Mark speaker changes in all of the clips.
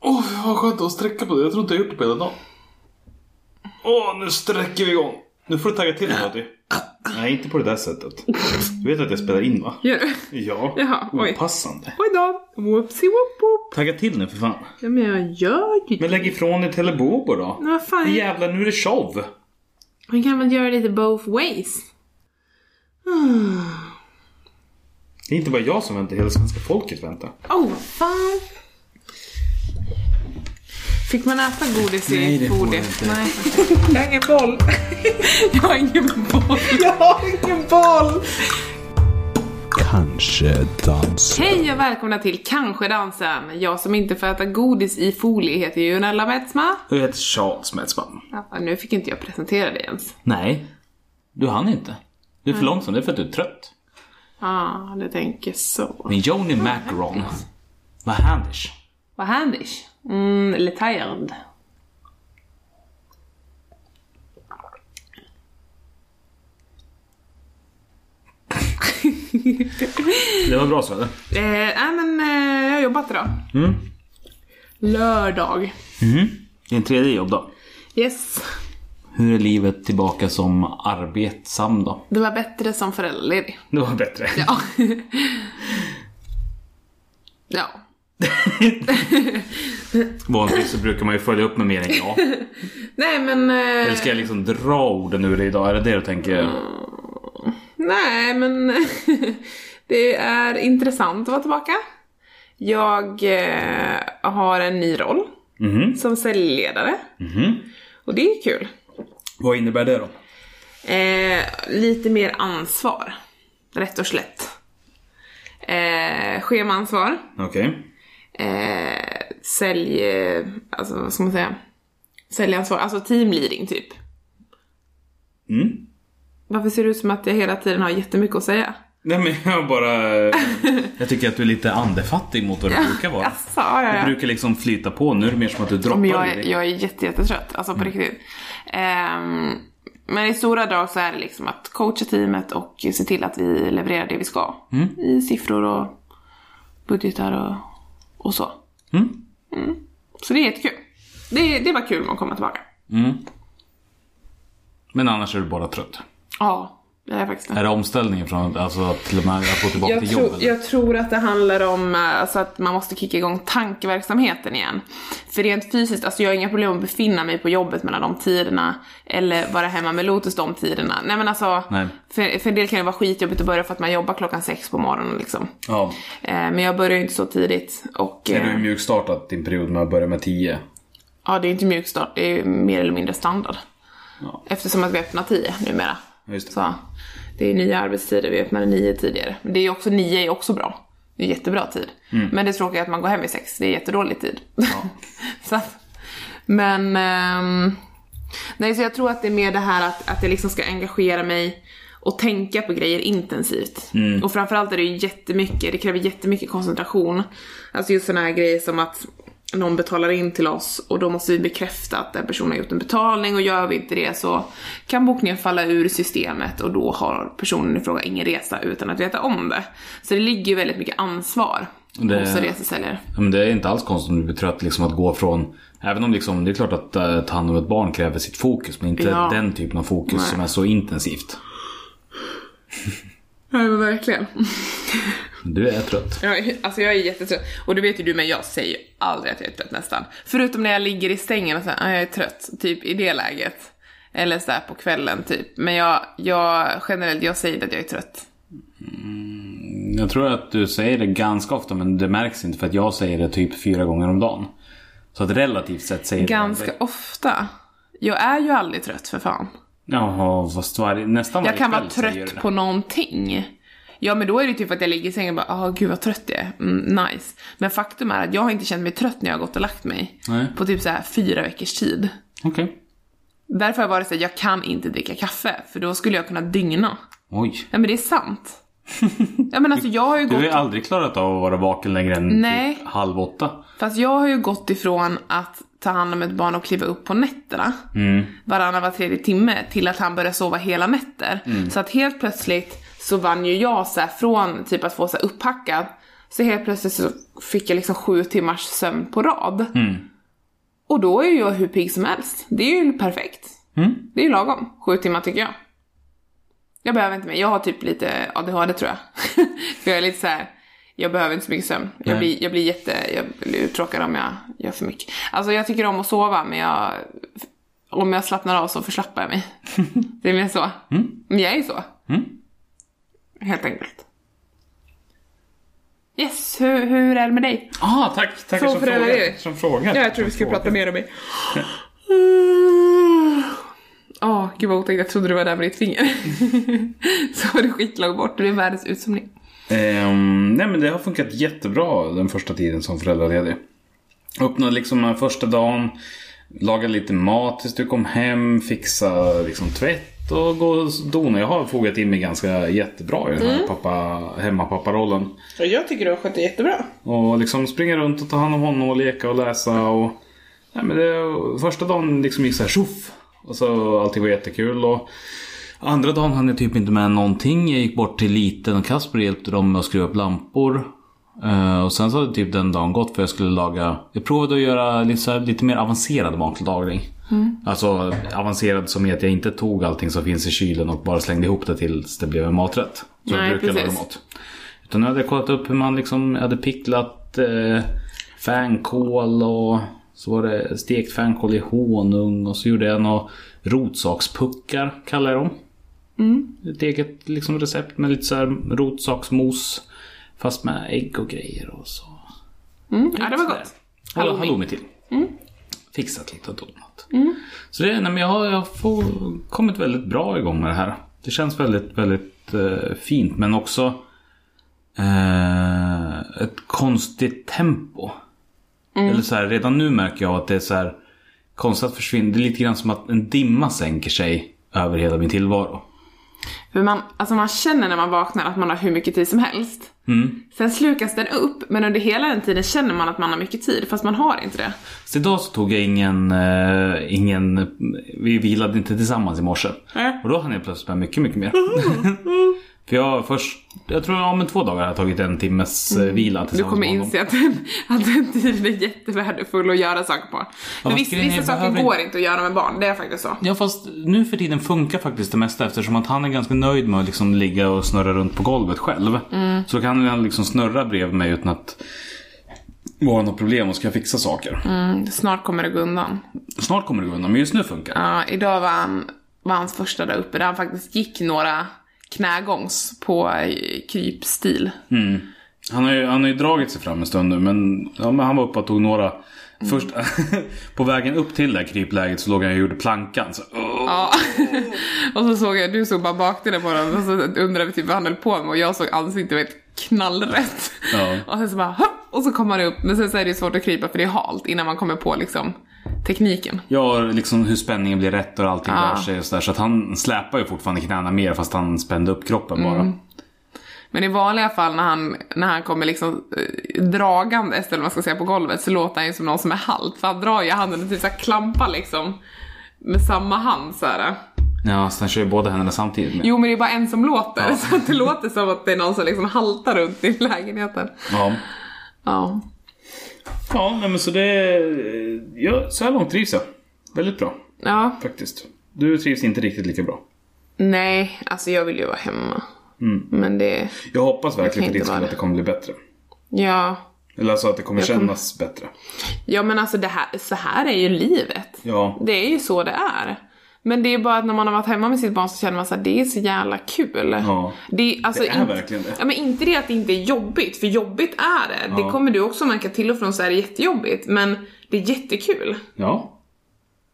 Speaker 1: Åh, vad skönt att sträcka på det. Jag tror inte jag har gjort det på hela dagen. Åh, nu sträcker vi igång. Nu får du tagga
Speaker 2: Äh.
Speaker 1: till Hadi. Nej, inte på det där sättet. Du vet att jag spelar in va?
Speaker 3: Gör du?
Speaker 1: Ja.
Speaker 3: Jaha, oj.
Speaker 1: Opassande.
Speaker 3: Oj då! Whoopsie whoop whoop.
Speaker 1: Tagga till nu för fan.
Speaker 3: Ja men jag gör ju
Speaker 1: Men
Speaker 3: det.
Speaker 1: lägg ifrån dig Telebobo då.
Speaker 3: Men vad fan.
Speaker 1: Jävlar, nu är det show.
Speaker 3: Man kan väl göra lite both ways? Mm.
Speaker 1: Det är inte bara jag som väntar, hela svenska folket väntar.
Speaker 3: Oh vad fan. Fick man äta godis i
Speaker 1: Nej, det får man
Speaker 3: bordet?
Speaker 1: inte.
Speaker 3: Nej. Jag har ingen boll. jag har ingen boll. Jag har ingen boll.
Speaker 2: Kanske dans.
Speaker 3: Hej och välkomna till Kanske dansen. Jag som inte får äta godis i folie heter ju Nella Metsma.
Speaker 1: Du heter Charles Metzman.
Speaker 3: Ja, nu fick inte jag presentera dig ens.
Speaker 1: Nej, du hann inte. Du är för långsam, det är för att du är trött.
Speaker 3: Ja, ah, du tänker så.
Speaker 1: Men Joni Macaron. Vad händer?
Speaker 3: Vad handish. Mm, eller tired.
Speaker 1: Det var bra Söder.
Speaker 3: Eh, nej men eh, jag har jobbat idag.
Speaker 1: Mm.
Speaker 3: Lördag.
Speaker 1: Mm. Din tredje jobb då?
Speaker 3: Yes.
Speaker 1: Hur är livet tillbaka som arbetsam då?
Speaker 3: Det var bättre som föräldraledig.
Speaker 1: Det var bättre.
Speaker 3: Ja. ja.
Speaker 1: Vanligtvis så brukar man ju följa upp med mer än ja.
Speaker 3: Nej men...
Speaker 1: Eller
Speaker 3: Eh,
Speaker 1: ska jag liksom dra orden ur dig idag? Är det det du
Speaker 3: Mm.
Speaker 1: tänker?
Speaker 3: nej men... det är intressant att vara tillbaka. Jag eh, har en ny roll
Speaker 1: Mhm.
Speaker 3: som säljledare. Och det är kul.
Speaker 1: Vad innebär det då?
Speaker 3: Eh, lite mer ansvar. Rätt och slätt. Eh, schemaansvar.
Speaker 1: Okej.
Speaker 3: Eh, sälj... eh, Alltså vad ska man säga? Säljansvar. Alltså teamleading typ.
Speaker 1: Mm.
Speaker 3: Varför ser det ut som att jag hela tiden har jättemycket att säga?
Speaker 1: Nej men jag bara... Jag tycker att du är lite andefattig mot vad du brukar vara.
Speaker 3: Jaså, ja,
Speaker 1: Du
Speaker 3: ja,
Speaker 1: brukar liksom flyta på, nu är det mer som att du Mm.
Speaker 3: ja.
Speaker 1: droppar
Speaker 3: Men jag,
Speaker 1: ur
Speaker 3: är-
Speaker 1: dig.
Speaker 3: jag är jätte, jättetrött. Alltså på riktigt. Ehm, men i stora drag så är det liksom att coacha teamet och se till att vi levererar det vi ska.
Speaker 1: Mm.
Speaker 3: I siffror och budgetar och, och så.
Speaker 1: Mm.
Speaker 3: Så det är jättekul. Det, det var kul att komma tillbaka.
Speaker 1: Men annars är du bara trött.
Speaker 3: Ja, det är faktiskt
Speaker 1: Är
Speaker 3: det.
Speaker 1: det omställningen från alltså, att till och med att gå tillbaka
Speaker 3: Jag,
Speaker 1: till
Speaker 3: tror-
Speaker 1: jobbet?
Speaker 3: jag tror att det handlar om eh, alltså att man måste kicka igång tankeverksamheten igen. För rent fysiskt, alltså jag har inga problem att befinna mig på jobbet mellan de tiderna. Eller vara hemma med Lotus de tiderna. Nej men alltså,
Speaker 1: Nej.
Speaker 3: För, för en del kan det vara skitjobbigt att börja för att man jobbar klockan sex på morgonen liksom.
Speaker 1: Ja.
Speaker 3: Eh, men jag börjar ju inte så tidigt. Och,
Speaker 1: När du
Speaker 3: eh,
Speaker 1: har mjukstartat din period med att börja med 10.
Speaker 3: ja, det är inte mjukstart, det är ju mer eller mindre standard.
Speaker 1: Ja.
Speaker 3: Eftersom att vi öppnar tio numera.
Speaker 1: Just det.
Speaker 3: Så det är nya arbetstider, vi öppnade nio tidigare. Men det är ju också, nio är också bra. Det är jättebra tid.
Speaker 1: Mm.
Speaker 3: Men det tråkiga är att man går hem vid sex, det är jättedålig tid. så att, men... ehm, nej, så jag tror att det är mer det här att, att jag liksom ska engagera mig och tänka på grejer intensivt. Och framförallt är det ju jättemycket, det kräver jättemycket koncentration. Alltså just sådana här grejer som att någon betalar in till oss och då måste vi bekräfta att den personen har gjort en betalning och gör vi inte det så kan bokningen falla ur systemet och då har personen i fråga ingen resa utan att veta om det. Så det ligger ju väldigt mycket ansvar
Speaker 1: Det-
Speaker 3: hos en resesäljare.
Speaker 1: Ja, Men det är inte alls konstigt om du blir trött liksom att gå från Även om liksom, det är klart att eh, ta hand om ett barn kräver sitt fokus men inte
Speaker 3: Ja.
Speaker 1: den typen av fokus
Speaker 3: Nej.
Speaker 1: som är så intensivt.
Speaker 3: Ja men verkligen.
Speaker 1: Du är trött.
Speaker 3: Jag, är- alltså jag är jättetrött. Och det vet ju du men jag säger ju aldrig att jag är trött nästan. Förutom när jag ligger i sängen och säger att jag är trött, typ i det läget. Eller sådär på kvällen typ. Men jag, jag generellt, jag säger att jag är trött.
Speaker 1: Jag tror att du säger det ganska ofta men det märks inte för att jag säger det typ fyra gånger om dagen. Så att relativt sett säger du
Speaker 3: Ganska
Speaker 1: aldrig.
Speaker 3: ofta. Jag är ju aldrig trött för fan.
Speaker 1: Jaha, fast varje, nästan
Speaker 3: Jag
Speaker 1: varje
Speaker 3: kan
Speaker 1: kväll
Speaker 3: vara
Speaker 1: säger du
Speaker 3: trött
Speaker 1: det.
Speaker 3: på någonting. Ja men då är det typ att jag ligger i sängen och bara ah gud vad trött jag är, mm, nice. Men faktum är att jag har inte känt mig trött när jag har gått och lagt mig.
Speaker 1: Nej.
Speaker 3: På typ så här fyra veckors tid.
Speaker 1: Okej.
Speaker 3: Därför har jag varit såhär, jag kan inte dricka kaffe för då skulle jag kunna dygna.
Speaker 1: Oj.
Speaker 3: Ja men det är sant. ja men alltså jag har ju
Speaker 1: Du har ju
Speaker 3: gått,
Speaker 1: aldrig klarat av att vara vaken längre än
Speaker 3: Nej.
Speaker 1: typ halv åtta.
Speaker 3: fast jag har ju gått ifrån att ta hand om ett barn och kliva upp på nätterna varannan var tredje timme till att han började sova hela nätter. Så att helt plötsligt så vann ju jag så här från typ att få så här upphackad Så helt plötsligt så fick jag liksom sju timmars sömn på rad. Och då är ju jag hur pigg som helst. Det är ju perfekt.
Speaker 1: Mm.
Speaker 3: Det är ju lagom. Sju timmar tycker jag. Jag behöver inte mer. Jag har typ lite ADHD tror jag. för jag är lite så här. jag behöver inte så mycket sömn. Jag
Speaker 1: Nej.
Speaker 3: blir, jag blir jätte, jag blir uttråkad om jag gör för mycket. Alltså jag tycker om att sova men jag, om jag slappnar av så förslappar jag mig. det är mer så.
Speaker 1: Mm.
Speaker 3: Men jag är ju så. Helt enkelt. Yes, hur, hur är det med dig?
Speaker 1: Ah, tack! Tackar
Speaker 3: Så
Speaker 1: som,
Speaker 3: för det var
Speaker 1: frågar,
Speaker 3: det.
Speaker 1: som frågar.
Speaker 3: Ja, jag tror vi
Speaker 1: Som
Speaker 3: ska
Speaker 1: frågar.
Speaker 3: prata mer om det. Åh, gud vad otäckt. Jag trodde det var där med ditt finger. så var det skitlångt bort och det är världens utsomning.
Speaker 1: Ehm, nej men det har funkat jättebra den första tiden som föräldraledig. Öppnade liksom den första dagen, lagade lite mat tills du kom hem, fixa liksom tvätt och gå och dona. Jag har fogat in mig ganska jättebra i den här pappa, hemmapapparollen.
Speaker 3: Jag tycker du har skött det jättebra.
Speaker 1: Och liksom springa runt och ta hand om honom och leka och läsa och... Nej men det, första dagen liksom gick så här tjoff! Och så allting var jättekul och... Andra dagen hann jag typ inte med någonting. Jag gick bort till liten och Kasper hjälpte dem med att skruva upp lampor. Eh, och sen så hade typ den dagen gått för jag skulle laga... Jag provade att göra lite, så här, lite mer avancerad matlagning.
Speaker 3: Mm.
Speaker 1: Alltså avancerad som i att jag inte tog allting som finns i kylen och bara slängde ihop det tills det blev en maträtt. Så
Speaker 3: Nej,
Speaker 1: jag brukar
Speaker 3: precis.
Speaker 1: laga mat. Utan jag hade kollat upp hur man liksom hade picklat eh, fänkål och så var det stekt fänkål i honung och så gjorde jag några rotsakspuckar kallar jag dem. Ett eget liksom, recept med lite så här rotsaksmos fast med ägg och grejer och så.
Speaker 3: Mm, ja, det var gott. Mm.
Speaker 1: Halloumi,
Speaker 3: Halloumi.
Speaker 1: halloumi till. Fixat lite och donat.
Speaker 3: Mm.
Speaker 1: Så det, nej, men jag har, jag får kommit väldigt bra igång med det här. Det känns väldigt, väldigt eh, fint men också eh, ett konstigt tempo.
Speaker 3: Mm.
Speaker 1: Eller så här, redan nu märker jag att det är så här konstigt att försvinna. Det är lite grann som att en dimma sänker sig över hela min tillvaro.
Speaker 3: För man, alltså man känner när man vaknar att man har hur mycket tid som helst. Sen slukas den upp, men under hela den tiden känner man att man har mycket tid, fast man har inte det.
Speaker 1: Så idag så tog jag ingen, eh, ingen vi vilade inte tillsammans i morse.
Speaker 3: Nej.
Speaker 1: Och då hann jag plötsligt med mycket, mycket mer. För jag först, jag tror om en två dagar har jag tagit en timmes eh, vila
Speaker 3: Mm. Du
Speaker 1: tillsammans
Speaker 3: kommer
Speaker 1: med honom.
Speaker 3: inse att den, att den tiden är jättevärdefull att göra saker på. För
Speaker 1: fast
Speaker 3: vissa,
Speaker 1: grejen är,
Speaker 3: vissa
Speaker 1: jag
Speaker 3: saker
Speaker 1: behöver
Speaker 3: går inte att göra med barn, det är faktiskt så.
Speaker 1: Ja fast nu för tiden funkar faktiskt det mesta eftersom att han är ganska nöjd med att liksom ligga och snurra runt på golvet själv.
Speaker 3: Mm.
Speaker 1: Så då kan han liksom snurra bredvid mig utan att vara något problem och ska fixa saker.
Speaker 3: Mm. Snart kommer det gå undan.
Speaker 1: Snart kommer det gå undan men just nu funkar det.
Speaker 3: Ja, idag var, han, var hans första där uppe där han faktiskt gick några knägångs på eh, krypstil.
Speaker 1: Han har, ju, han har ju dragit sig fram en stund nu men, ja, men han var uppe och tog några.
Speaker 3: Mm.
Speaker 1: Först på vägen upp till det här krypläget så låg han och gjorde plankan. Så, "Åh."
Speaker 3: Ja. och så såg jag, du såg bara bakdelen på honom och så undrade vi typ vad han höll på med och jag såg ansiktet var helt knallrätt.
Speaker 1: Ja.
Speaker 3: Och sen så bara hopp, och så kom han upp. Men sen så är det ju svårt att krypa för det är halt innan man kommer på liksom tekniken.
Speaker 1: Ja, liksom hur spänningen blir rätt och allting
Speaker 3: Ja.
Speaker 1: rör sig och sådär. Så att han släpar ju fortfarande knäna mer fast han spände upp kroppen
Speaker 3: Mm.
Speaker 1: bara.
Speaker 3: Men i vanliga fall när han, när han kommer liksom eh, dragandes, eller vad man ska säga, på golvet så låter han ju som någon som är halt. För han drar ju handen och typ såhär klampar liksom med samma hand så här.
Speaker 1: Ja, så han kör ju båda händerna samtidigt. Med.
Speaker 3: Jo men det är bara en som låter, så att det låter som att det är någon som liksom haltar runt i lägenheten.
Speaker 1: Ja.
Speaker 3: Ja.
Speaker 1: Ja, nej, men så det... Ja, så här långt trivs jag. Väldigt bra,
Speaker 3: Ja.
Speaker 1: faktiskt. Du trivs inte riktigt lika bra.
Speaker 3: Nej, alltså jag vill ju vara hemma. Men det,
Speaker 1: Jag hoppas verkligen
Speaker 3: kan
Speaker 1: för din
Speaker 3: inte vara
Speaker 1: skull att
Speaker 3: det.
Speaker 1: det kommer bli bättre.
Speaker 3: ja.
Speaker 1: Eller alltså att det kommer
Speaker 3: kommer-
Speaker 1: kännas bättre.
Speaker 3: Ja men alltså det här, så här är ju livet.
Speaker 1: Ja.
Speaker 3: Det är ju så det är. Men det är bara att när man har varit hemma med sitt barn så känner man att det är så jävla kul.
Speaker 1: Ja.
Speaker 3: Det, alltså,
Speaker 1: Det är
Speaker 3: inte,
Speaker 1: verkligen det.
Speaker 3: Ja, men inte det att det inte är jobbigt, för jobbigt är det.
Speaker 1: Ja.
Speaker 3: Det kommer du också märka till och från så är det jättejobbigt, men det är jättekul.
Speaker 1: Ja.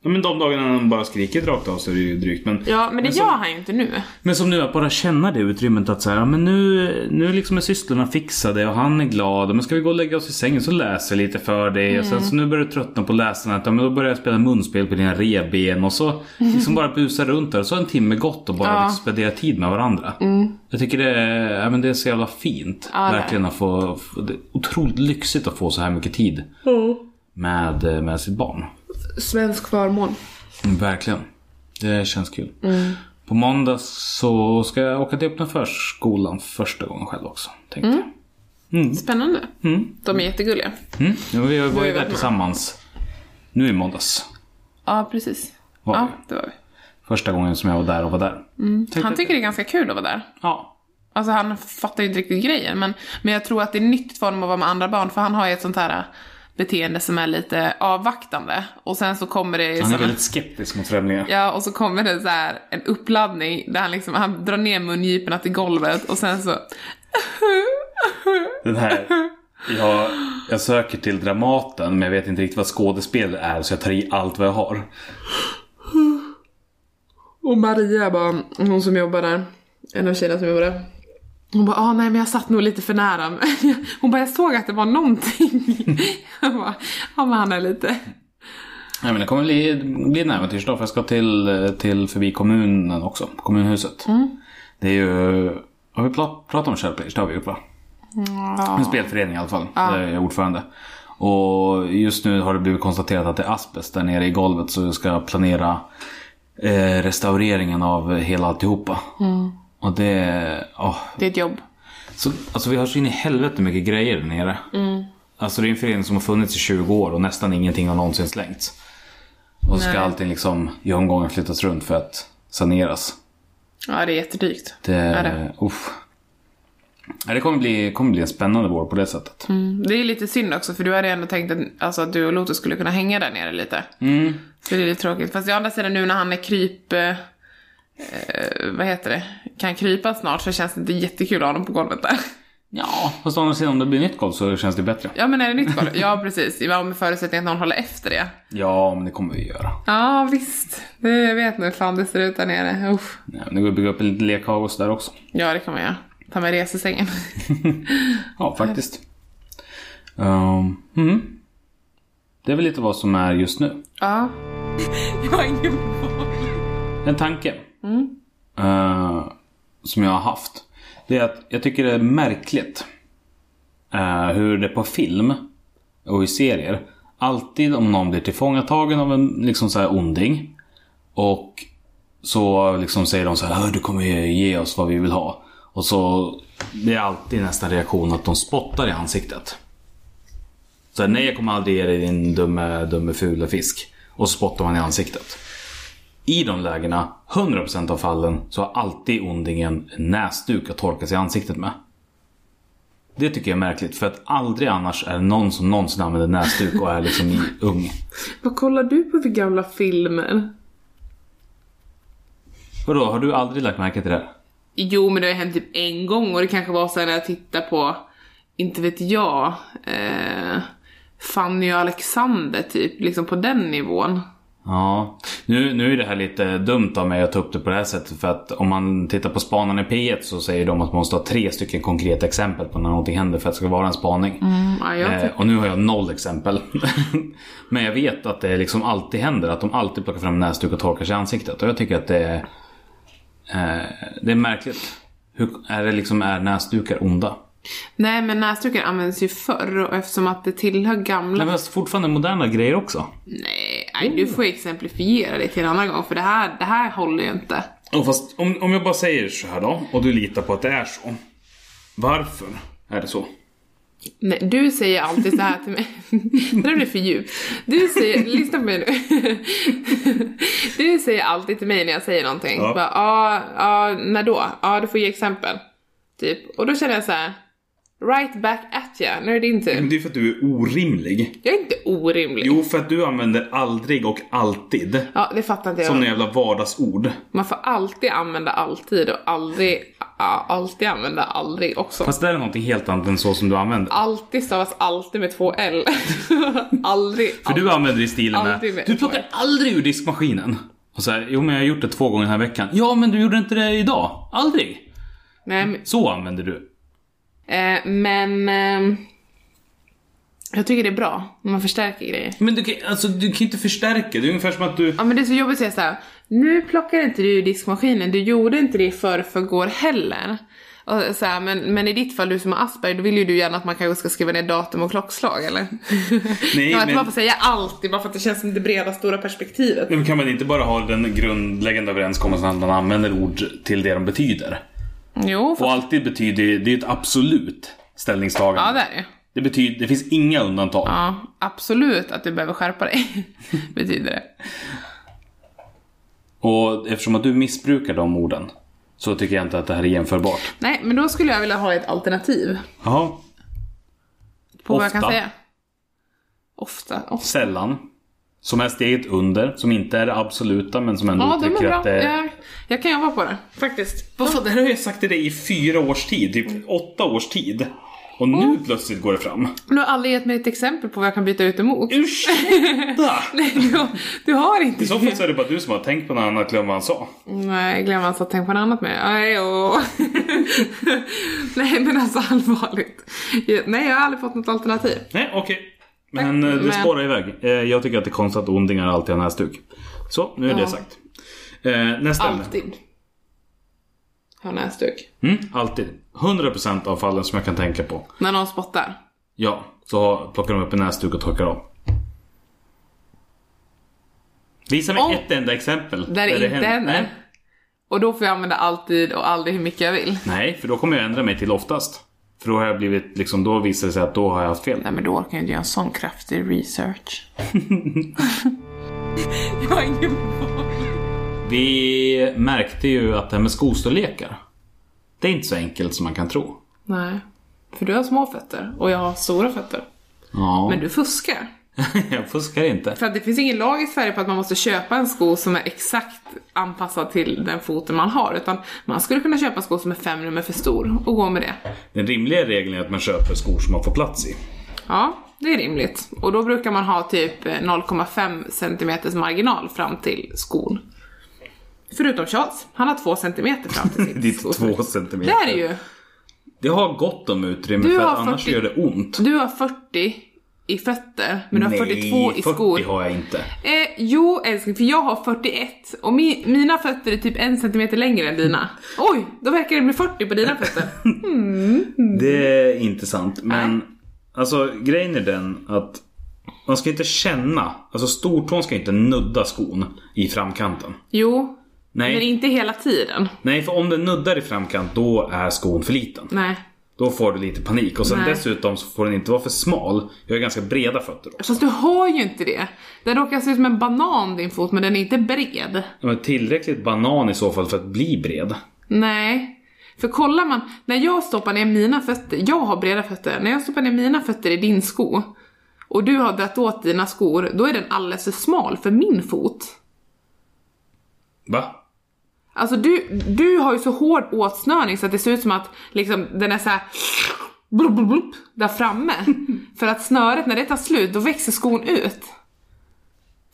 Speaker 1: ja men de dagarna han bara skrikit rakt av så är det ju drygt. Men
Speaker 3: Ja, men det
Speaker 1: så-
Speaker 3: gör han ju inte nu.
Speaker 1: Men som nu, att bara känna det utrymmet att så här, ja, men nu, nu liksom är sysslorna fixade och han är glad. Men ska vi gå och lägga oss i sängen så läser jag lite för dig. Och
Speaker 3: Mm.
Speaker 1: sen så nu börjar du tröttna på läsandet. Ja, men då börjar jag spela munspel på dina revben. Och så liksom bara busa runt där. Och så har en timme gått och bara
Speaker 3: Mm. Ja. Mm.
Speaker 1: liksom spendera tid med varandra. Jag tycker det är, ja, men det är så jävla fint.
Speaker 3: Ja, det är det.
Speaker 1: Verkligen att få, få- det är otroligt lyxigt att få så här mycket tid med, eh, med sitt barn.
Speaker 3: Svensk förmån.
Speaker 1: Mm, Verkligen. Det känns kul.
Speaker 3: Mm.
Speaker 1: På måndag så ska jag åka till öppna förskolan första gången själv också. Tänkte jag. Mm.
Speaker 3: Spännande.
Speaker 1: Mm.
Speaker 3: De är jättegulliga.
Speaker 1: Mm. Ja, vi var
Speaker 3: är
Speaker 1: ju
Speaker 3: vi
Speaker 1: där
Speaker 3: med.
Speaker 1: tillsammans. Nu i måndags.
Speaker 3: Ja, precis.
Speaker 1: Var
Speaker 3: Ja,
Speaker 1: vi.
Speaker 3: det var vi.
Speaker 1: Första gången som jag var där och var där. Tyckte
Speaker 3: Han
Speaker 1: att-
Speaker 3: tycker det är ganska kul att vara där.
Speaker 1: Ja.
Speaker 3: Alltså han fattar ju inte riktigt grejen men, men jag tror att det är nyttigt för honom att vara med andra barn för han har ju ett sånt här äh, beteende som är lite avvaktande och sen så kommer det
Speaker 1: Han är
Speaker 3: som en,
Speaker 1: väldigt skeptisk mot främlingar.
Speaker 3: ja, och så kommer det så här en uppladdning där han liksom, han drar ner mungiporna till golvet och sen så
Speaker 1: Den här. Jag, jag söker till Dramaten men jag vet inte riktigt vad skådespel är så jag tar i allt vad jag har.
Speaker 3: Och Maria bara, hon som jobbar där, en av tjejerna som jobbar där. Hon bara, ah, nej men jag satt nog lite för nära. Hon bara, jag såg att det var någonting. Jag bara, ja men han är lite...
Speaker 1: Nej men det kommer bli, bli en äventyrsdag för jag ska till, till förbi kommunen också. Kommunhuset. Det är ju... Har vi prat, pratat om Shellpage? Det har vi gjort va? En spelförening i alla fall. Där jag är ordförande. Och just nu har det blivit konstaterat att det är asbest där nere i golvet så jag ska planera eh, restaureringen av hela alltihopa. Och det... åh.
Speaker 3: Det är ett jobb.
Speaker 1: Så, alltså vi har så in i helvete mycket grejer där nere.
Speaker 3: Mm.
Speaker 1: Alltså det är en förening som har funnits i 20 år och nästan ingenting har någonsin slängts. Och så ska
Speaker 3: Nej.
Speaker 1: allting liksom i omgångar flyttas runt för att saneras.
Speaker 3: Ja, det är jättedykt.
Speaker 1: Det,
Speaker 3: Är det?
Speaker 1: Uff. Nej, det kommer bli, kommer bli en spännande vår på det sättet.
Speaker 3: Mm. Det är lite synd också för du hade ändå tänkt att, alltså, att du och Lotus skulle kunna hänga där nere lite. Så det är lite tråkigt. Fast å andra sidan nu när han är kryp... Eh, eh, vad heter det? Kan krypa snart så känns det inte jättekul att ha honom på golvet där.
Speaker 1: Ja, fast å andra sidan om det blir nytt golv så känns det bättre.
Speaker 3: Ja men är det nytt golv? Ja precis, Ja, med förutsättning att någon håller efter det.
Speaker 1: Ja, men det kommer vi göra.
Speaker 3: Ja visst, det, jag vet nu hur fan det ser ut där nere. Uff.
Speaker 1: Nej, men det går att bygga upp en liten lekhagos där också.
Speaker 3: Ja det kan man göra. Ta med resesängen.
Speaker 1: Ja, faktiskt. Ehm, mhm. Det är väl lite vad som är just nu.
Speaker 3: ja. Jag har ingen
Speaker 1: En tanke eh, som jag har haft. Det är att jag tycker det är märkligt eh, hur det på film och i serier alltid om någon blir tillfångatagen av en liksom så här onding och så liksom säger de så här "Hör, du kommer ju ge oss vad vi vill ha. Och så det är alltid nästan reaktion att de spottar i ansiktet. Så här, nej jag kommer aldrig ge dig din dumme, dumme fula fisk. Och så spottar man i ansiktet. I de lägena, 100% av fallen, så har alltid ondingen en näsduk att torka sig i ansiktet med. Det tycker jag är märkligt, för att aldrig annars är det någon som någonsin använder näsduk och är liksom i- ung.
Speaker 3: Vad kollar du på för gamla filmer?
Speaker 1: Vadå, har du aldrig lagt märke till det?
Speaker 3: Jo men det har hänt typ en gång och det kanske var så här när jag tittade på, inte vet jag, eh, Fanny och Alexander typ, liksom på den nivån.
Speaker 1: Ja, nu, nu är det här lite dumt av mig att ta upp det på det här sättet för att om man tittar på spanarna i P1 så säger de att man måste ha tre stycken konkreta exempel på när någonting händer för att det ska vara en spaning.
Speaker 3: Ja, jag
Speaker 1: Eh, och nu har jag noll exempel. Men jag vet att det liksom alltid händer att de alltid plockar fram näsduk och torkar sig i ansiktet. Och jag tycker att det är, eh, det är märkligt. Hur är det liksom, är näsdukar onda?
Speaker 3: Nej men näsdukar används ju förr och eftersom att det tillhör gamla
Speaker 1: Men fast fortfarande moderna grejer också.
Speaker 3: Nej, nej, du får exemplifiera det till en annan gång för det här, det här håller ju inte.
Speaker 1: Och fast om, om jag bara säger så här då, och du litar på att det är så. Varför är det så?
Speaker 3: Nej, du säger alltid så här till mig. Det där blir för djupt. Du säger, lyssna på mig nu. Du säger alltid till mig när jag säger någonting.
Speaker 1: Ja.
Speaker 3: Ja, bara, ja, ja, när då? Ja, du får ge exempel. Typ. Och då känner jag så här. Right back at ya, nu är det din tur.
Speaker 1: Det är för att du är orimlig.
Speaker 3: Jag är inte orimlig.
Speaker 1: Jo, för att du använder aldrig och alltid
Speaker 3: Ja, det fattar inte jag.
Speaker 1: som jävla vardagsord.
Speaker 3: Man får alltid använda alltid och aldrig, ja, alltid använda aldrig också.
Speaker 1: Fast det är någonting helt annat än så som du använder.
Speaker 3: Alltid stavas alltid med två L. aldrig.
Speaker 1: För du använder i stilen
Speaker 3: Aldrig
Speaker 1: med,
Speaker 3: med-
Speaker 1: du plockar aldrig ur diskmaskinen. Och så här, jo men jag har gjort det två gånger den här veckan. Ja men du gjorde inte det idag. Aldrig.
Speaker 3: Nej, men,
Speaker 1: Så använder du.
Speaker 3: eh, men ehm, jag tycker det är bra när man förstärker grejer.
Speaker 1: Men du kan, alltså, du kan inte förstärka, det är ungefär som att du...
Speaker 3: Ja men det är så jobbigt att säga såhär, nu plockar inte du ur diskmaskinen, du gjorde inte det för förrgår heller. Och så här, men, men i ditt fall, du som har Asperger, då vill ju du gärna att man kanske ska skriva ner datum och klockslag eller?
Speaker 1: Nej,
Speaker 3: kan
Speaker 1: men-
Speaker 3: man inte bara få säga allt, det är bara för att det känns som det breda stora perspektivet.
Speaker 1: Men kan man inte bara ha den grundläggande överenskommelsen att man använder ord till det de betyder?
Speaker 3: Jo, fast
Speaker 1: Och alltid betyder, det är ett absolut. ställningstagande.
Speaker 3: Ja, det är det ju.
Speaker 1: Det betyder, det finns inga undantag.
Speaker 3: Ja, absolut att du behöver skärpa dig, betyder det.
Speaker 1: Och eftersom att du missbrukar de orden så tycker jag inte att det här är jämförbart.
Speaker 3: Nej, men då skulle jag vilja ha ett alternativ
Speaker 1: Jaha,
Speaker 3: på vad jag kan
Speaker 1: Ofta. Mm,
Speaker 3: säga. Ofta. Ofta.
Speaker 1: sällan. Som är steget under, som inte är det absoluta men som ändå
Speaker 3: Ja, de är
Speaker 1: tycker
Speaker 3: bra.
Speaker 1: att det är...
Speaker 3: Jag, jag kan jobba på det, faktiskt.
Speaker 1: Vad fan, det här har jag sagt till dig i fyra års tid,
Speaker 3: Mm.
Speaker 1: typ åtta års tid. Och nu plötsligt går det fram.
Speaker 3: Men du har aldrig gett mig ett exempel på vad jag kan byta ut emot.
Speaker 1: Ursäkta!
Speaker 3: Nej, du, har- du har inte
Speaker 1: I så fall så är det bara du som har tänkt på något annat än vad han sa.
Speaker 3: Nej, glöm alltså att tänka på något annat med. Aj, åh. Nej, men alltså allvarligt. Nej, jag har aldrig fått något alternativ.
Speaker 1: Nej, okej. Men eh, det
Speaker 3: men-
Speaker 1: spårar iväg. Eh, Jag tycker att det är konstigt att ondingar alltid har näsduk. Så, nu är det
Speaker 3: Ja.
Speaker 1: sagt. Eh, Nästa ämne.
Speaker 3: Alltid. Har näsduk.
Speaker 1: Mm, alltid. 100% av fallen som jag kan tänka på.
Speaker 3: När någon spottar.
Speaker 1: Ja, så har- plockar de upp en näsduk och torkar av. Visa mig
Speaker 3: Om-
Speaker 1: ett enda exempel.
Speaker 3: Där det inte händer.
Speaker 1: Nej.
Speaker 3: Och då får jag använda alltid och aldrig hur mycket jag vill.
Speaker 1: Nej, för då kommer jag ändra mig till oftast. För då har jag blivit, liksom, då visar det sig att då har jag haft fel.
Speaker 3: Nej, men då orkar jag inte göra en sån kraftig research. jag har ingen
Speaker 1: Vi märkte ju att det här med skostorlekar. Det är inte så enkelt som man kan tro.
Speaker 3: Nej. För du har små fötter och jag har stora fötter.
Speaker 1: Ja,
Speaker 3: Men du fuskar.
Speaker 1: jag fuskar inte.
Speaker 3: För att det finns ingen lag i Sverige på att man måste köpa en sko som är exakt anpassad till den foten man har. Utan man skulle kunna köpa en sko som är fem nummer för stor och gå med det.
Speaker 1: Den rimliga regeln är att man köper skor som man får plats i.
Speaker 3: Ja, det är rimligt. Och då brukar man ha typ 0,5 cm marginal fram till skon. Förutom Charles, han har 2 cm fram till sin
Speaker 1: Ditt
Speaker 3: sko.
Speaker 1: två centimeter.
Speaker 3: Det här är ju,
Speaker 1: Det har gott om utrymme
Speaker 3: Du
Speaker 1: för att
Speaker 3: har
Speaker 1: annars
Speaker 3: 40
Speaker 1: gör det ont.
Speaker 3: du har 40 i fötter, men du har 42 i skor.
Speaker 1: 40 har jag inte.
Speaker 3: Eh, jo älskling, för jag har 41 och mi- mina fötter är typ en centimeter längre än dina. Oj, då verkar det bli 40 på dina fötter.
Speaker 1: Det är
Speaker 3: Mm.
Speaker 1: inte sant. Men alltså grejen är den att man ska inte känna, alltså stortån ska inte nudda skon i framkanten.
Speaker 3: Jo, men
Speaker 1: Nej,
Speaker 3: inte hela tiden.
Speaker 1: nej för om den nuddar i framkant då är skon för liten.
Speaker 3: Nej.
Speaker 1: Då får du lite panik. Och sen
Speaker 3: Nej.
Speaker 1: dessutom så får den inte vara för smal. Jag har ganska breda fötter då.
Speaker 3: Fast du har ju inte det. Den råkar se ut som en banan din fot, men den är inte bred.
Speaker 1: De är tillräckligt banan i så fall för att bli bred.
Speaker 3: Nej. För kollar man, när jag stoppar ner mina fötter, jag har breda fötter, när jag stoppar ner mina fötter i din sko och du har dragit åt dina skor, då är den alldeles för smal för min fot.
Speaker 1: Va?
Speaker 3: Alltså du, du har ju så hård åtsnörning så att det ser ut som att liksom, den är så här blup, blup, blup, där framme. för att snöret, när det tar slut, då växer skon ut.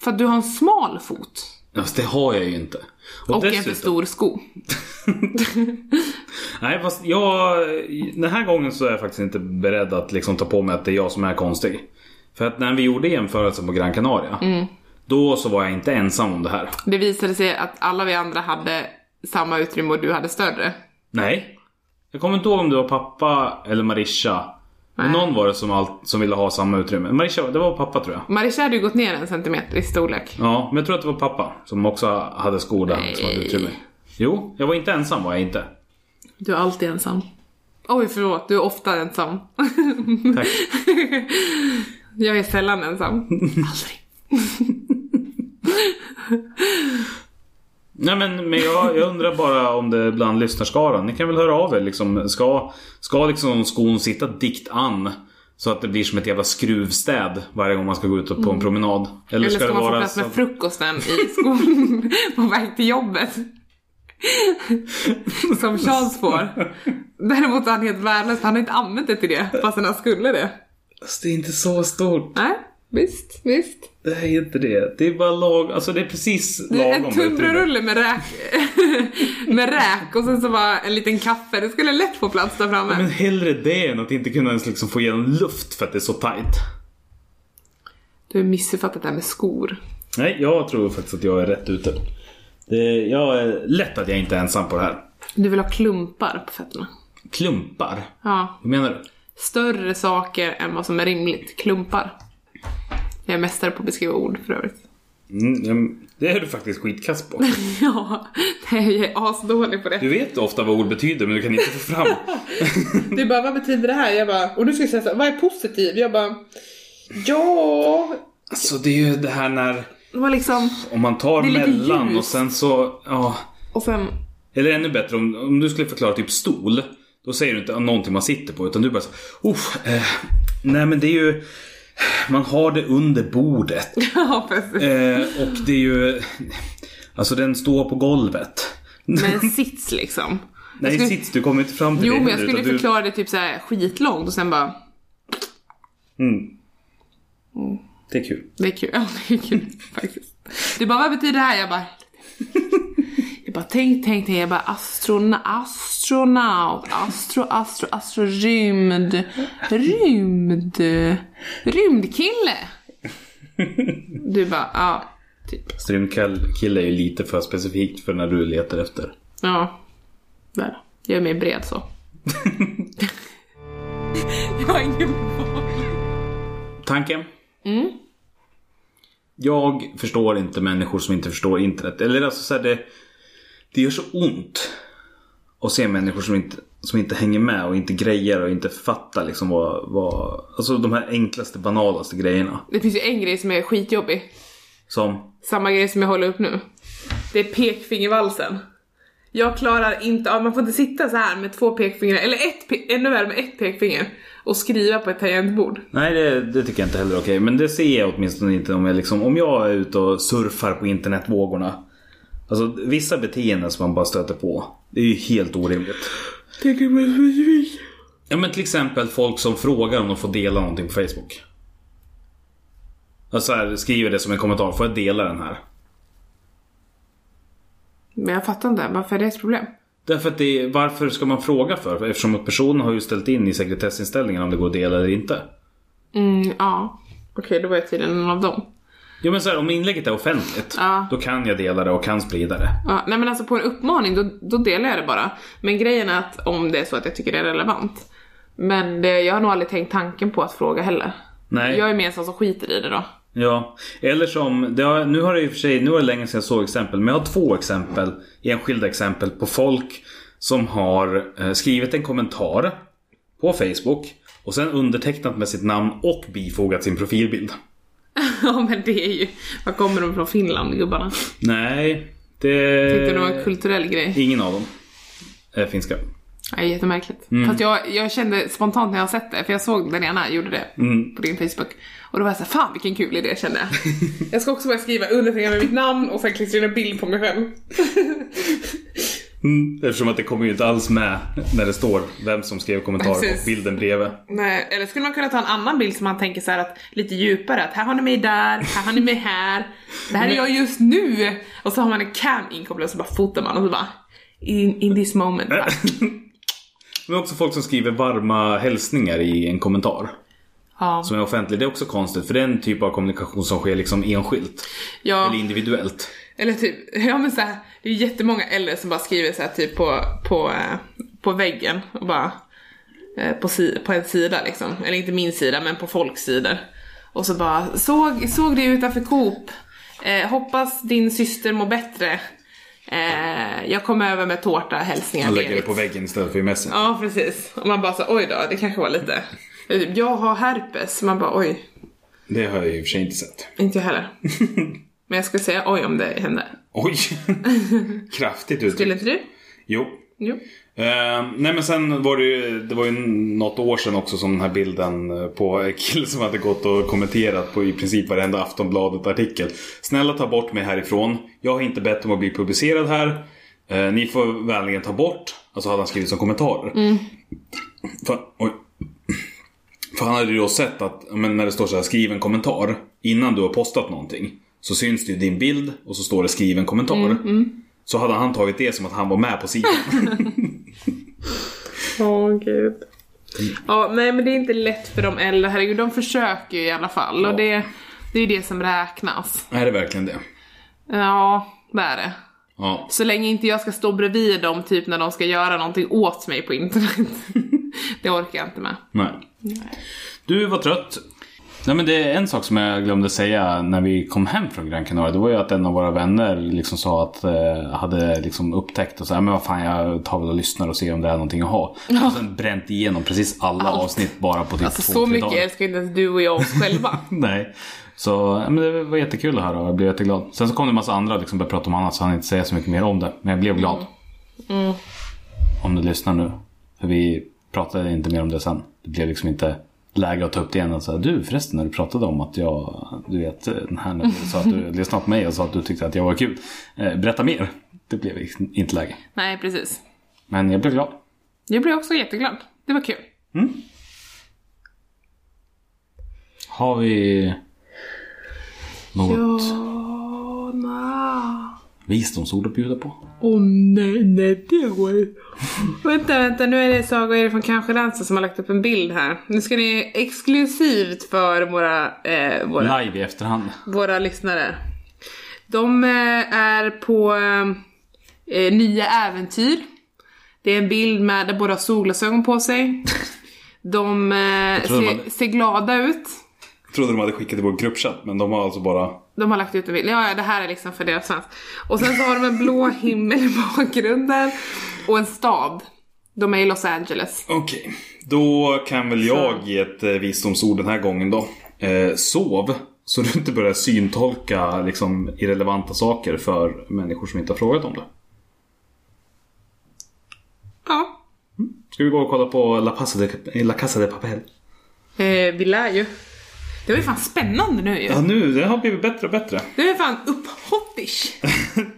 Speaker 3: För att du har en smal fot
Speaker 1: Alltså, det har jag ju inte.
Speaker 3: och, en för stor sko.
Speaker 1: Nej, fast jag, den här gången så är jag faktiskt inte beredd att liksom ta på mig att det är jag som är konstig. För att när vi gjorde jämförelsen på Gran Canaria.
Speaker 3: Mm.
Speaker 1: Då så var jag inte ensam om det här.
Speaker 3: Det visade sig att alla vi andra hade samma utrymme och du hade större.
Speaker 1: Nej. Jag kommer inte ihåg om det var pappa eller Marisha. Men
Speaker 3: Nej.
Speaker 1: någon var det som, allt, som ville ha samma utrymme. Marisha, det var pappa tror jag.
Speaker 3: Marisha hade ju gått ner en centimeter i storlek.
Speaker 1: Ja, men jag tror att det var pappa som också hade skor där som hade
Speaker 3: Nej.
Speaker 1: utrymme. Jo, jag var inte ensam var jag inte.
Speaker 3: Du är alltid ensam. Oj, förlåt. Du är ofta ensam.
Speaker 1: Tack.
Speaker 3: Jag är sällan ensam. Aldrig.
Speaker 1: Nej men, men jag, jag undrar bara om det är bland lyssnarskaran. Ni kan väl höra av er liksom. Ska, ska liksom skon sitta dikt an? Så att det blir som ett jävla skruvstäd varje gång man ska gå ut på en promenad. Eller,
Speaker 3: Mm. Eller
Speaker 1: ska,
Speaker 3: ska,
Speaker 1: det
Speaker 3: man få
Speaker 1: vara
Speaker 3: plats
Speaker 1: så...
Speaker 3: med frukosten i skolan på väg till jobbet? Som Charles får. Däremot är han helt värdelös, han har inte använt det till det fastän han skulle det.
Speaker 1: Alltså, det är inte så stort.
Speaker 3: Nej, visst, visst.
Speaker 1: Det här är inte det. Det är bara lag... Alltså det är precis
Speaker 3: Det är
Speaker 1: lagom.
Speaker 3: en
Speaker 1: utrymme.
Speaker 3: tunnbrödsrulle med räk, med räk och sen så bara en liten kaffe. Det skulle lätt få plats där
Speaker 1: Men
Speaker 3: framme.
Speaker 1: hellre det än att inte kunna ens liksom få igenom luft för att det är så tajt.
Speaker 3: Du har missuppfattat det här med skor.
Speaker 1: Nej, jag tror faktiskt att jag är rätt ute. Det, jag är lätt att jag inte är ensam på det här.
Speaker 3: Du vill ha klumpar på fötterna.
Speaker 1: Klumpar?
Speaker 3: Ja.
Speaker 1: Hur menar du?
Speaker 3: Större saker än vad som är rimligt. Klumpar. Jag är mästare på att beskriva ord för övrigt.
Speaker 1: Mm, mm, det är du faktiskt skitkast på.
Speaker 3: Ja, nej, jag är asdålig på det.
Speaker 1: Du vet ofta vad ord betyder men du kan inte få fram.
Speaker 3: Du bara, vad betyder det här? Jag bara, och du ska säga så här, vad är positiv? Jag bara, ja...
Speaker 1: Alltså det är ju det här när
Speaker 3: Det var liksom,
Speaker 1: om man tar
Speaker 3: Det är lite
Speaker 1: mellan
Speaker 3: ljus.
Speaker 1: och sen så... Ja,
Speaker 3: och sen,
Speaker 1: eller ännu bättre om, om du skulle förklara typ stol. Då säger du inte någonting man sitter på utan du bara så, Uff, eh, Nej men det är ju... Man har det under bordet.
Speaker 3: ja precis.
Speaker 1: Eh, och det är ju... Alltså den står på golvet.
Speaker 3: Men sits liksom.
Speaker 1: Nej
Speaker 3: skulle-
Speaker 1: sits, du kommer inte fram till
Speaker 3: Jo,
Speaker 1: det
Speaker 3: men jag
Speaker 1: heller,
Speaker 3: skulle
Speaker 1: utan du-
Speaker 3: förklara det typ så här skitlångt och sen bara,
Speaker 1: Det är kul.
Speaker 3: det är kul. Ja, det är kul faktiskt. Du bara, vad betyder det här? Jag bara, jag bara tänk, tänk, tänk. Jag bara astrona, astronaut, astro, astro, astro, rymd, rymd, rymdkille. Du bara, ja, typ.
Speaker 1: Strymkille är ju lite för specifikt för när du letar efter.
Speaker 3: Ja, där. Jag är mer bred så. jag har ingen
Speaker 1: Tanken? Jag förstår inte människor som inte förstår internet. Eller alltså så här, det, det gör så ont att se människor som inte, som inte hänger med och inte grejer och inte fattar liksom vad, vad... Alltså de här enklaste, banalaste grejerna.
Speaker 3: Det finns ju en grej som är skitjobbig.
Speaker 1: Som...
Speaker 3: Samma grej som jag håller upp nu. Det är pekfingervalsen. Jag klarar inte av, man får inte sitta så här med två pekfingrar, eller ett, pe- ännu värre med ett pekfinger och skriva på ett tangentbord.
Speaker 1: Nej, det, det tycker jag inte heller är okej. Men det ser jag åtminstone inte om jag liksom... Om jag är ute och surfar på internetvågorna. Alltså vissa beteenden som man bara stöter på. Det är ju helt orimligt.
Speaker 3: Tänker man specifikt?
Speaker 1: Ja men till exempel folk som frågar om de får dela någonting på Facebook. Alltså här, skriver det som en kommentar, får jag dela den här?
Speaker 3: Men jag fattar inte, varför är det ett problem?
Speaker 1: Därför att det är, varför ska man fråga för? Eftersom att personen har ju ställt in i sekretessinställningen om det går att dela eller inte.
Speaker 3: Mm, ja. Okej, då var jag tydligen en av dem.
Speaker 1: Jo men så här, om inlägget är offentligt,
Speaker 3: Ja.
Speaker 1: då kan jag dela det och kan sprida det.
Speaker 3: Ja, nej men alltså på en uppmaning då, då delar jag det bara. Men grejen är att om det är så att jag tycker det är relevant. Men det, jag har nog aldrig tänkt tanken på att fråga heller.
Speaker 1: Nej.
Speaker 3: Jag är mer en sån som skiter i det då.
Speaker 1: Ja, eller som, det har, nu har det i och för sig, nu var det länge sedan jag såg exempel, men jag har två exempel, enskilda exempel på folk som har eh, skrivit en kommentar på Facebook och sen undertecknat med sitt namn och bifogat sin profilbild.
Speaker 3: ja men det är ju, var kommer de från Finland gubbarna?
Speaker 1: Nej, det...
Speaker 3: Tyckte det var en kulturell grej.
Speaker 1: Ingen av dem är finska.
Speaker 3: Ja, jättemärkligt. Fast jag, jag kände spontant när jag sett det, för jag såg den ena gjorde det på din Facebook. Och då var jag såhär, fan vilken kul idé kände jag. jag ska också börja skriva underteckna med mitt namn och sen klistra in en bild på mig själv.
Speaker 1: Eftersom att det kommer ju inte alls med när det står vem som skrev kommentaren och
Speaker 3: Precis.
Speaker 1: bilden bredvid.
Speaker 3: Nej, eller skulle man kunna ta en annan bild som man tänker så här att lite djupare att här har ni mig där, här har ni mig här, det här är jag just nu. Och så har man en cam inkopplad och så bara fotar man och så bara in, in this moment. Bara.
Speaker 1: Men också folk som skriver varma hälsningar i en kommentar.
Speaker 3: Ja.
Speaker 1: som är offentlig. Det är också konstigt för det är en typ av kommunikation som sker liksom enskilt.
Speaker 3: ja,
Speaker 1: Eller individuellt.
Speaker 3: eller typ, ja men så här, det är jättemånga äldre som bara skriver så här typ på, på, eh, på väggen och bara eh, på, si, på en sida liksom, eller inte min sida men på folks sidor. Och så bara såg, såg det utanför Coop, eh, hoppas din syster mår bättre. Eh, jag kommer över med tårta, hälsningar
Speaker 1: Man lägger det
Speaker 3: Berit."
Speaker 1: på väggen istället för i mässan.
Speaker 3: Ja precis, och man bara så oj då, det kanske var lite. Eller typ, Jag har herpes, man bara oj,
Speaker 1: Det har jag i och för sig inte sett.
Speaker 3: inte jag heller. Men jag skulle säga oj om det hände.
Speaker 1: Oj! Kraftigt uttryck.
Speaker 3: Skulle inte du?
Speaker 1: Jo.
Speaker 3: Jo.
Speaker 1: Ehm, nej men sen var det ju, det var ju något år sedan också som den här bilden eh, på en kille som hade gått och kommenterat på i princip varenda Aftonbladet-artikel. Snälla ta bort mig härifrån. Jag har inte bett om att bli publicerad här. Eh, ni får vänligen ta bort. Alltså hade han skrivit som kommentarer. För, oj. För han hade ju då sett att ja, men när det står så här skriv en kommentar innan du har postat någonting. Så syns det ju din bild och så står det skriv en kommentar. Så hade han tagit det som att han var med på sidan.
Speaker 3: Åh gud.
Speaker 1: Mm.
Speaker 3: Ja, nej men det är inte lätt för de äldre, herregud de försöker ju i alla fall och det, det är ju det som räknas.
Speaker 1: Är det verkligen det?
Speaker 3: Ja, det är det.
Speaker 1: Ja.
Speaker 3: Så länge inte jag ska stå bredvid dem typ när de ska göra någonting åt mig på internet. det orkar jag inte med.
Speaker 1: Nej. Du var trött. Nej, men det är en sak som jag glömde säga när vi kom hem från Gran Canaria. Det var ju att en av våra vänner liksom sa att, eh, hade liksom upptäckt och så här, men vad fan jag tar väl och lyssnar och ser om det är någonting att ha. Och sen bränt igenom precis alla
Speaker 3: Allt.
Speaker 1: avsnitt bara på typ
Speaker 3: Alltså
Speaker 1: två,
Speaker 3: så
Speaker 1: tre
Speaker 3: mycket
Speaker 1: dagar.
Speaker 3: älskar inte ens du och jag oss själva.
Speaker 1: Nej. Så ja, men det var jättekul att höra och jag blev jätteglad. Sen så kom det en massa andra och liksom började prata om annat så han inte säga så mycket mer om det. Men jag blev glad. Om du lyssnar nu. För vi pratade inte mer om det sen. Det blev liksom inte läge att ta upp det igen. Och säga, du förresten när du pratade om att jag, du vet den här när du sa att du lyssnade på mig och sa att du tyckte att jag var kul. Eh, berätta mer. Det blev liksom inte läge.
Speaker 3: Nej, precis.
Speaker 1: Men jag blev glad.
Speaker 3: Jag blev också jätteglad. Det var kul.
Speaker 1: Har vi något
Speaker 3: Åh, nej.
Speaker 1: visdomsord att bjuda på?
Speaker 3: Åh nej, nej, det går ju. vänta, vänta, nu är det Saga och Erik från Kanske Dansen som har lagt upp en bild här. Nu ska ni exklusivt för våra, eh, våra
Speaker 1: Live i efterhand.
Speaker 3: våra lyssnare. De eh, är på eh, Nya Äventyr. Det är en bild med där båda har solglasögon på sig. De eh,
Speaker 1: trodde
Speaker 3: ser,
Speaker 1: man-
Speaker 3: ser glada ut.
Speaker 1: trodde de hade skickat i vår gruppchatt men de har alltså bara...
Speaker 3: De har lagt ut en bild. Ja, ja, det här är liksom för deras fans. Och sen så har de en blå himmel i bakgrunden och en stad. De är i Los Angeles.
Speaker 1: Okej, då kan väl jag ge ett eh, visdomsord den här gången då. Eh, sov, så du inte börjar syntolka liksom, irrelevanta saker för människor som inte har frågat om det.
Speaker 3: Ja,
Speaker 1: Ska vi gå och kolla på La, Pasa de, La Casa de Papel?
Speaker 3: eh, vi lär ju. Det var ju fan spännande nu ju.
Speaker 1: Ja, nu, det har blivit bättre och bättre.
Speaker 3: Det var ju fan upphoppish.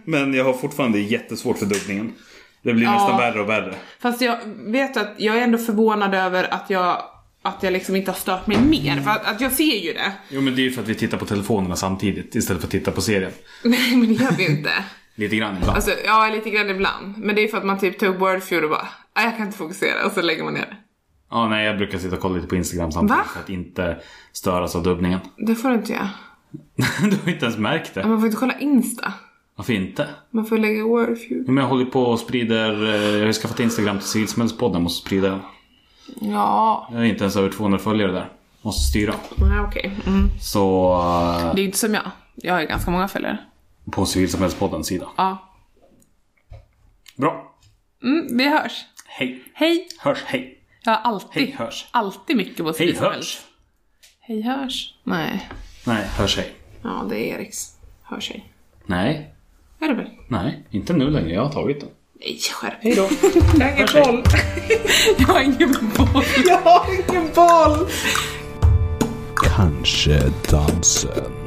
Speaker 1: Men jag har fortfarande jättesvårt för dubbningen. Det blir
Speaker 3: Ja.
Speaker 1: nästan värre och värre.
Speaker 3: Fast jag vet att jag är ändå förvånad över att jag, att jag liksom inte har stört mig mer. För att, att jag ser ju det.
Speaker 1: Jo, men det är ju för att vi tittar på telefonerna samtidigt istället för att titta på serien.
Speaker 3: Nej men det gör vi ju inte.
Speaker 1: Lite grann ibland.
Speaker 3: Alltså ja, lite grann ibland. Men det är för att man typ tar upp Wordfeud och bara, "Ah, jag kan inte fokusera och så lägger man ner det.
Speaker 1: Ja, nej, jag brukar sitta och kolla lite på Instagram samtidigt
Speaker 3: Va?
Speaker 1: för att inte störas av dubbningen.
Speaker 3: Det får du inte göra.
Speaker 1: du har inte ens märkt
Speaker 3: Men
Speaker 1: det.
Speaker 3: Man får inte kolla Insta.
Speaker 1: Varför inte?
Speaker 3: Man får lägga Wordfeud.
Speaker 1: Men jag håller på och sprider... eh, Jag har skaffat Instagram till Civilsamhällespodden. Måste sprida den.
Speaker 3: Ja,
Speaker 1: Jag är inte ens över 200 följare där. Måste styra.
Speaker 3: nej okej. Mm.
Speaker 1: Så... eh,
Speaker 3: Det är inte som jag. Jag har ju ganska många följare.
Speaker 1: På Civilsamhällespoddens sida.
Speaker 3: Ja.
Speaker 1: Bra.
Speaker 3: Mm, vi hörs.
Speaker 1: Hej.
Speaker 3: Hej!
Speaker 1: Hörs. Hej.
Speaker 3: Jag har alltid,
Speaker 1: Hej, hörs.
Speaker 3: alltid mycket på
Speaker 1: Hej
Speaker 3: civilsamhället.
Speaker 1: hörs.
Speaker 3: Hej hörs. Nej.
Speaker 1: Nej, hörs hej.
Speaker 3: Ja, det är Eriks. Hör sig.
Speaker 1: Nej.
Speaker 3: Är det väl?
Speaker 1: Nej, inte nu längre. Jag har tagit den.
Speaker 3: Nej, skärp dig.
Speaker 1: då.
Speaker 3: Jag har ingen boll. Jag har ingen boll.
Speaker 2: Kanske dansen.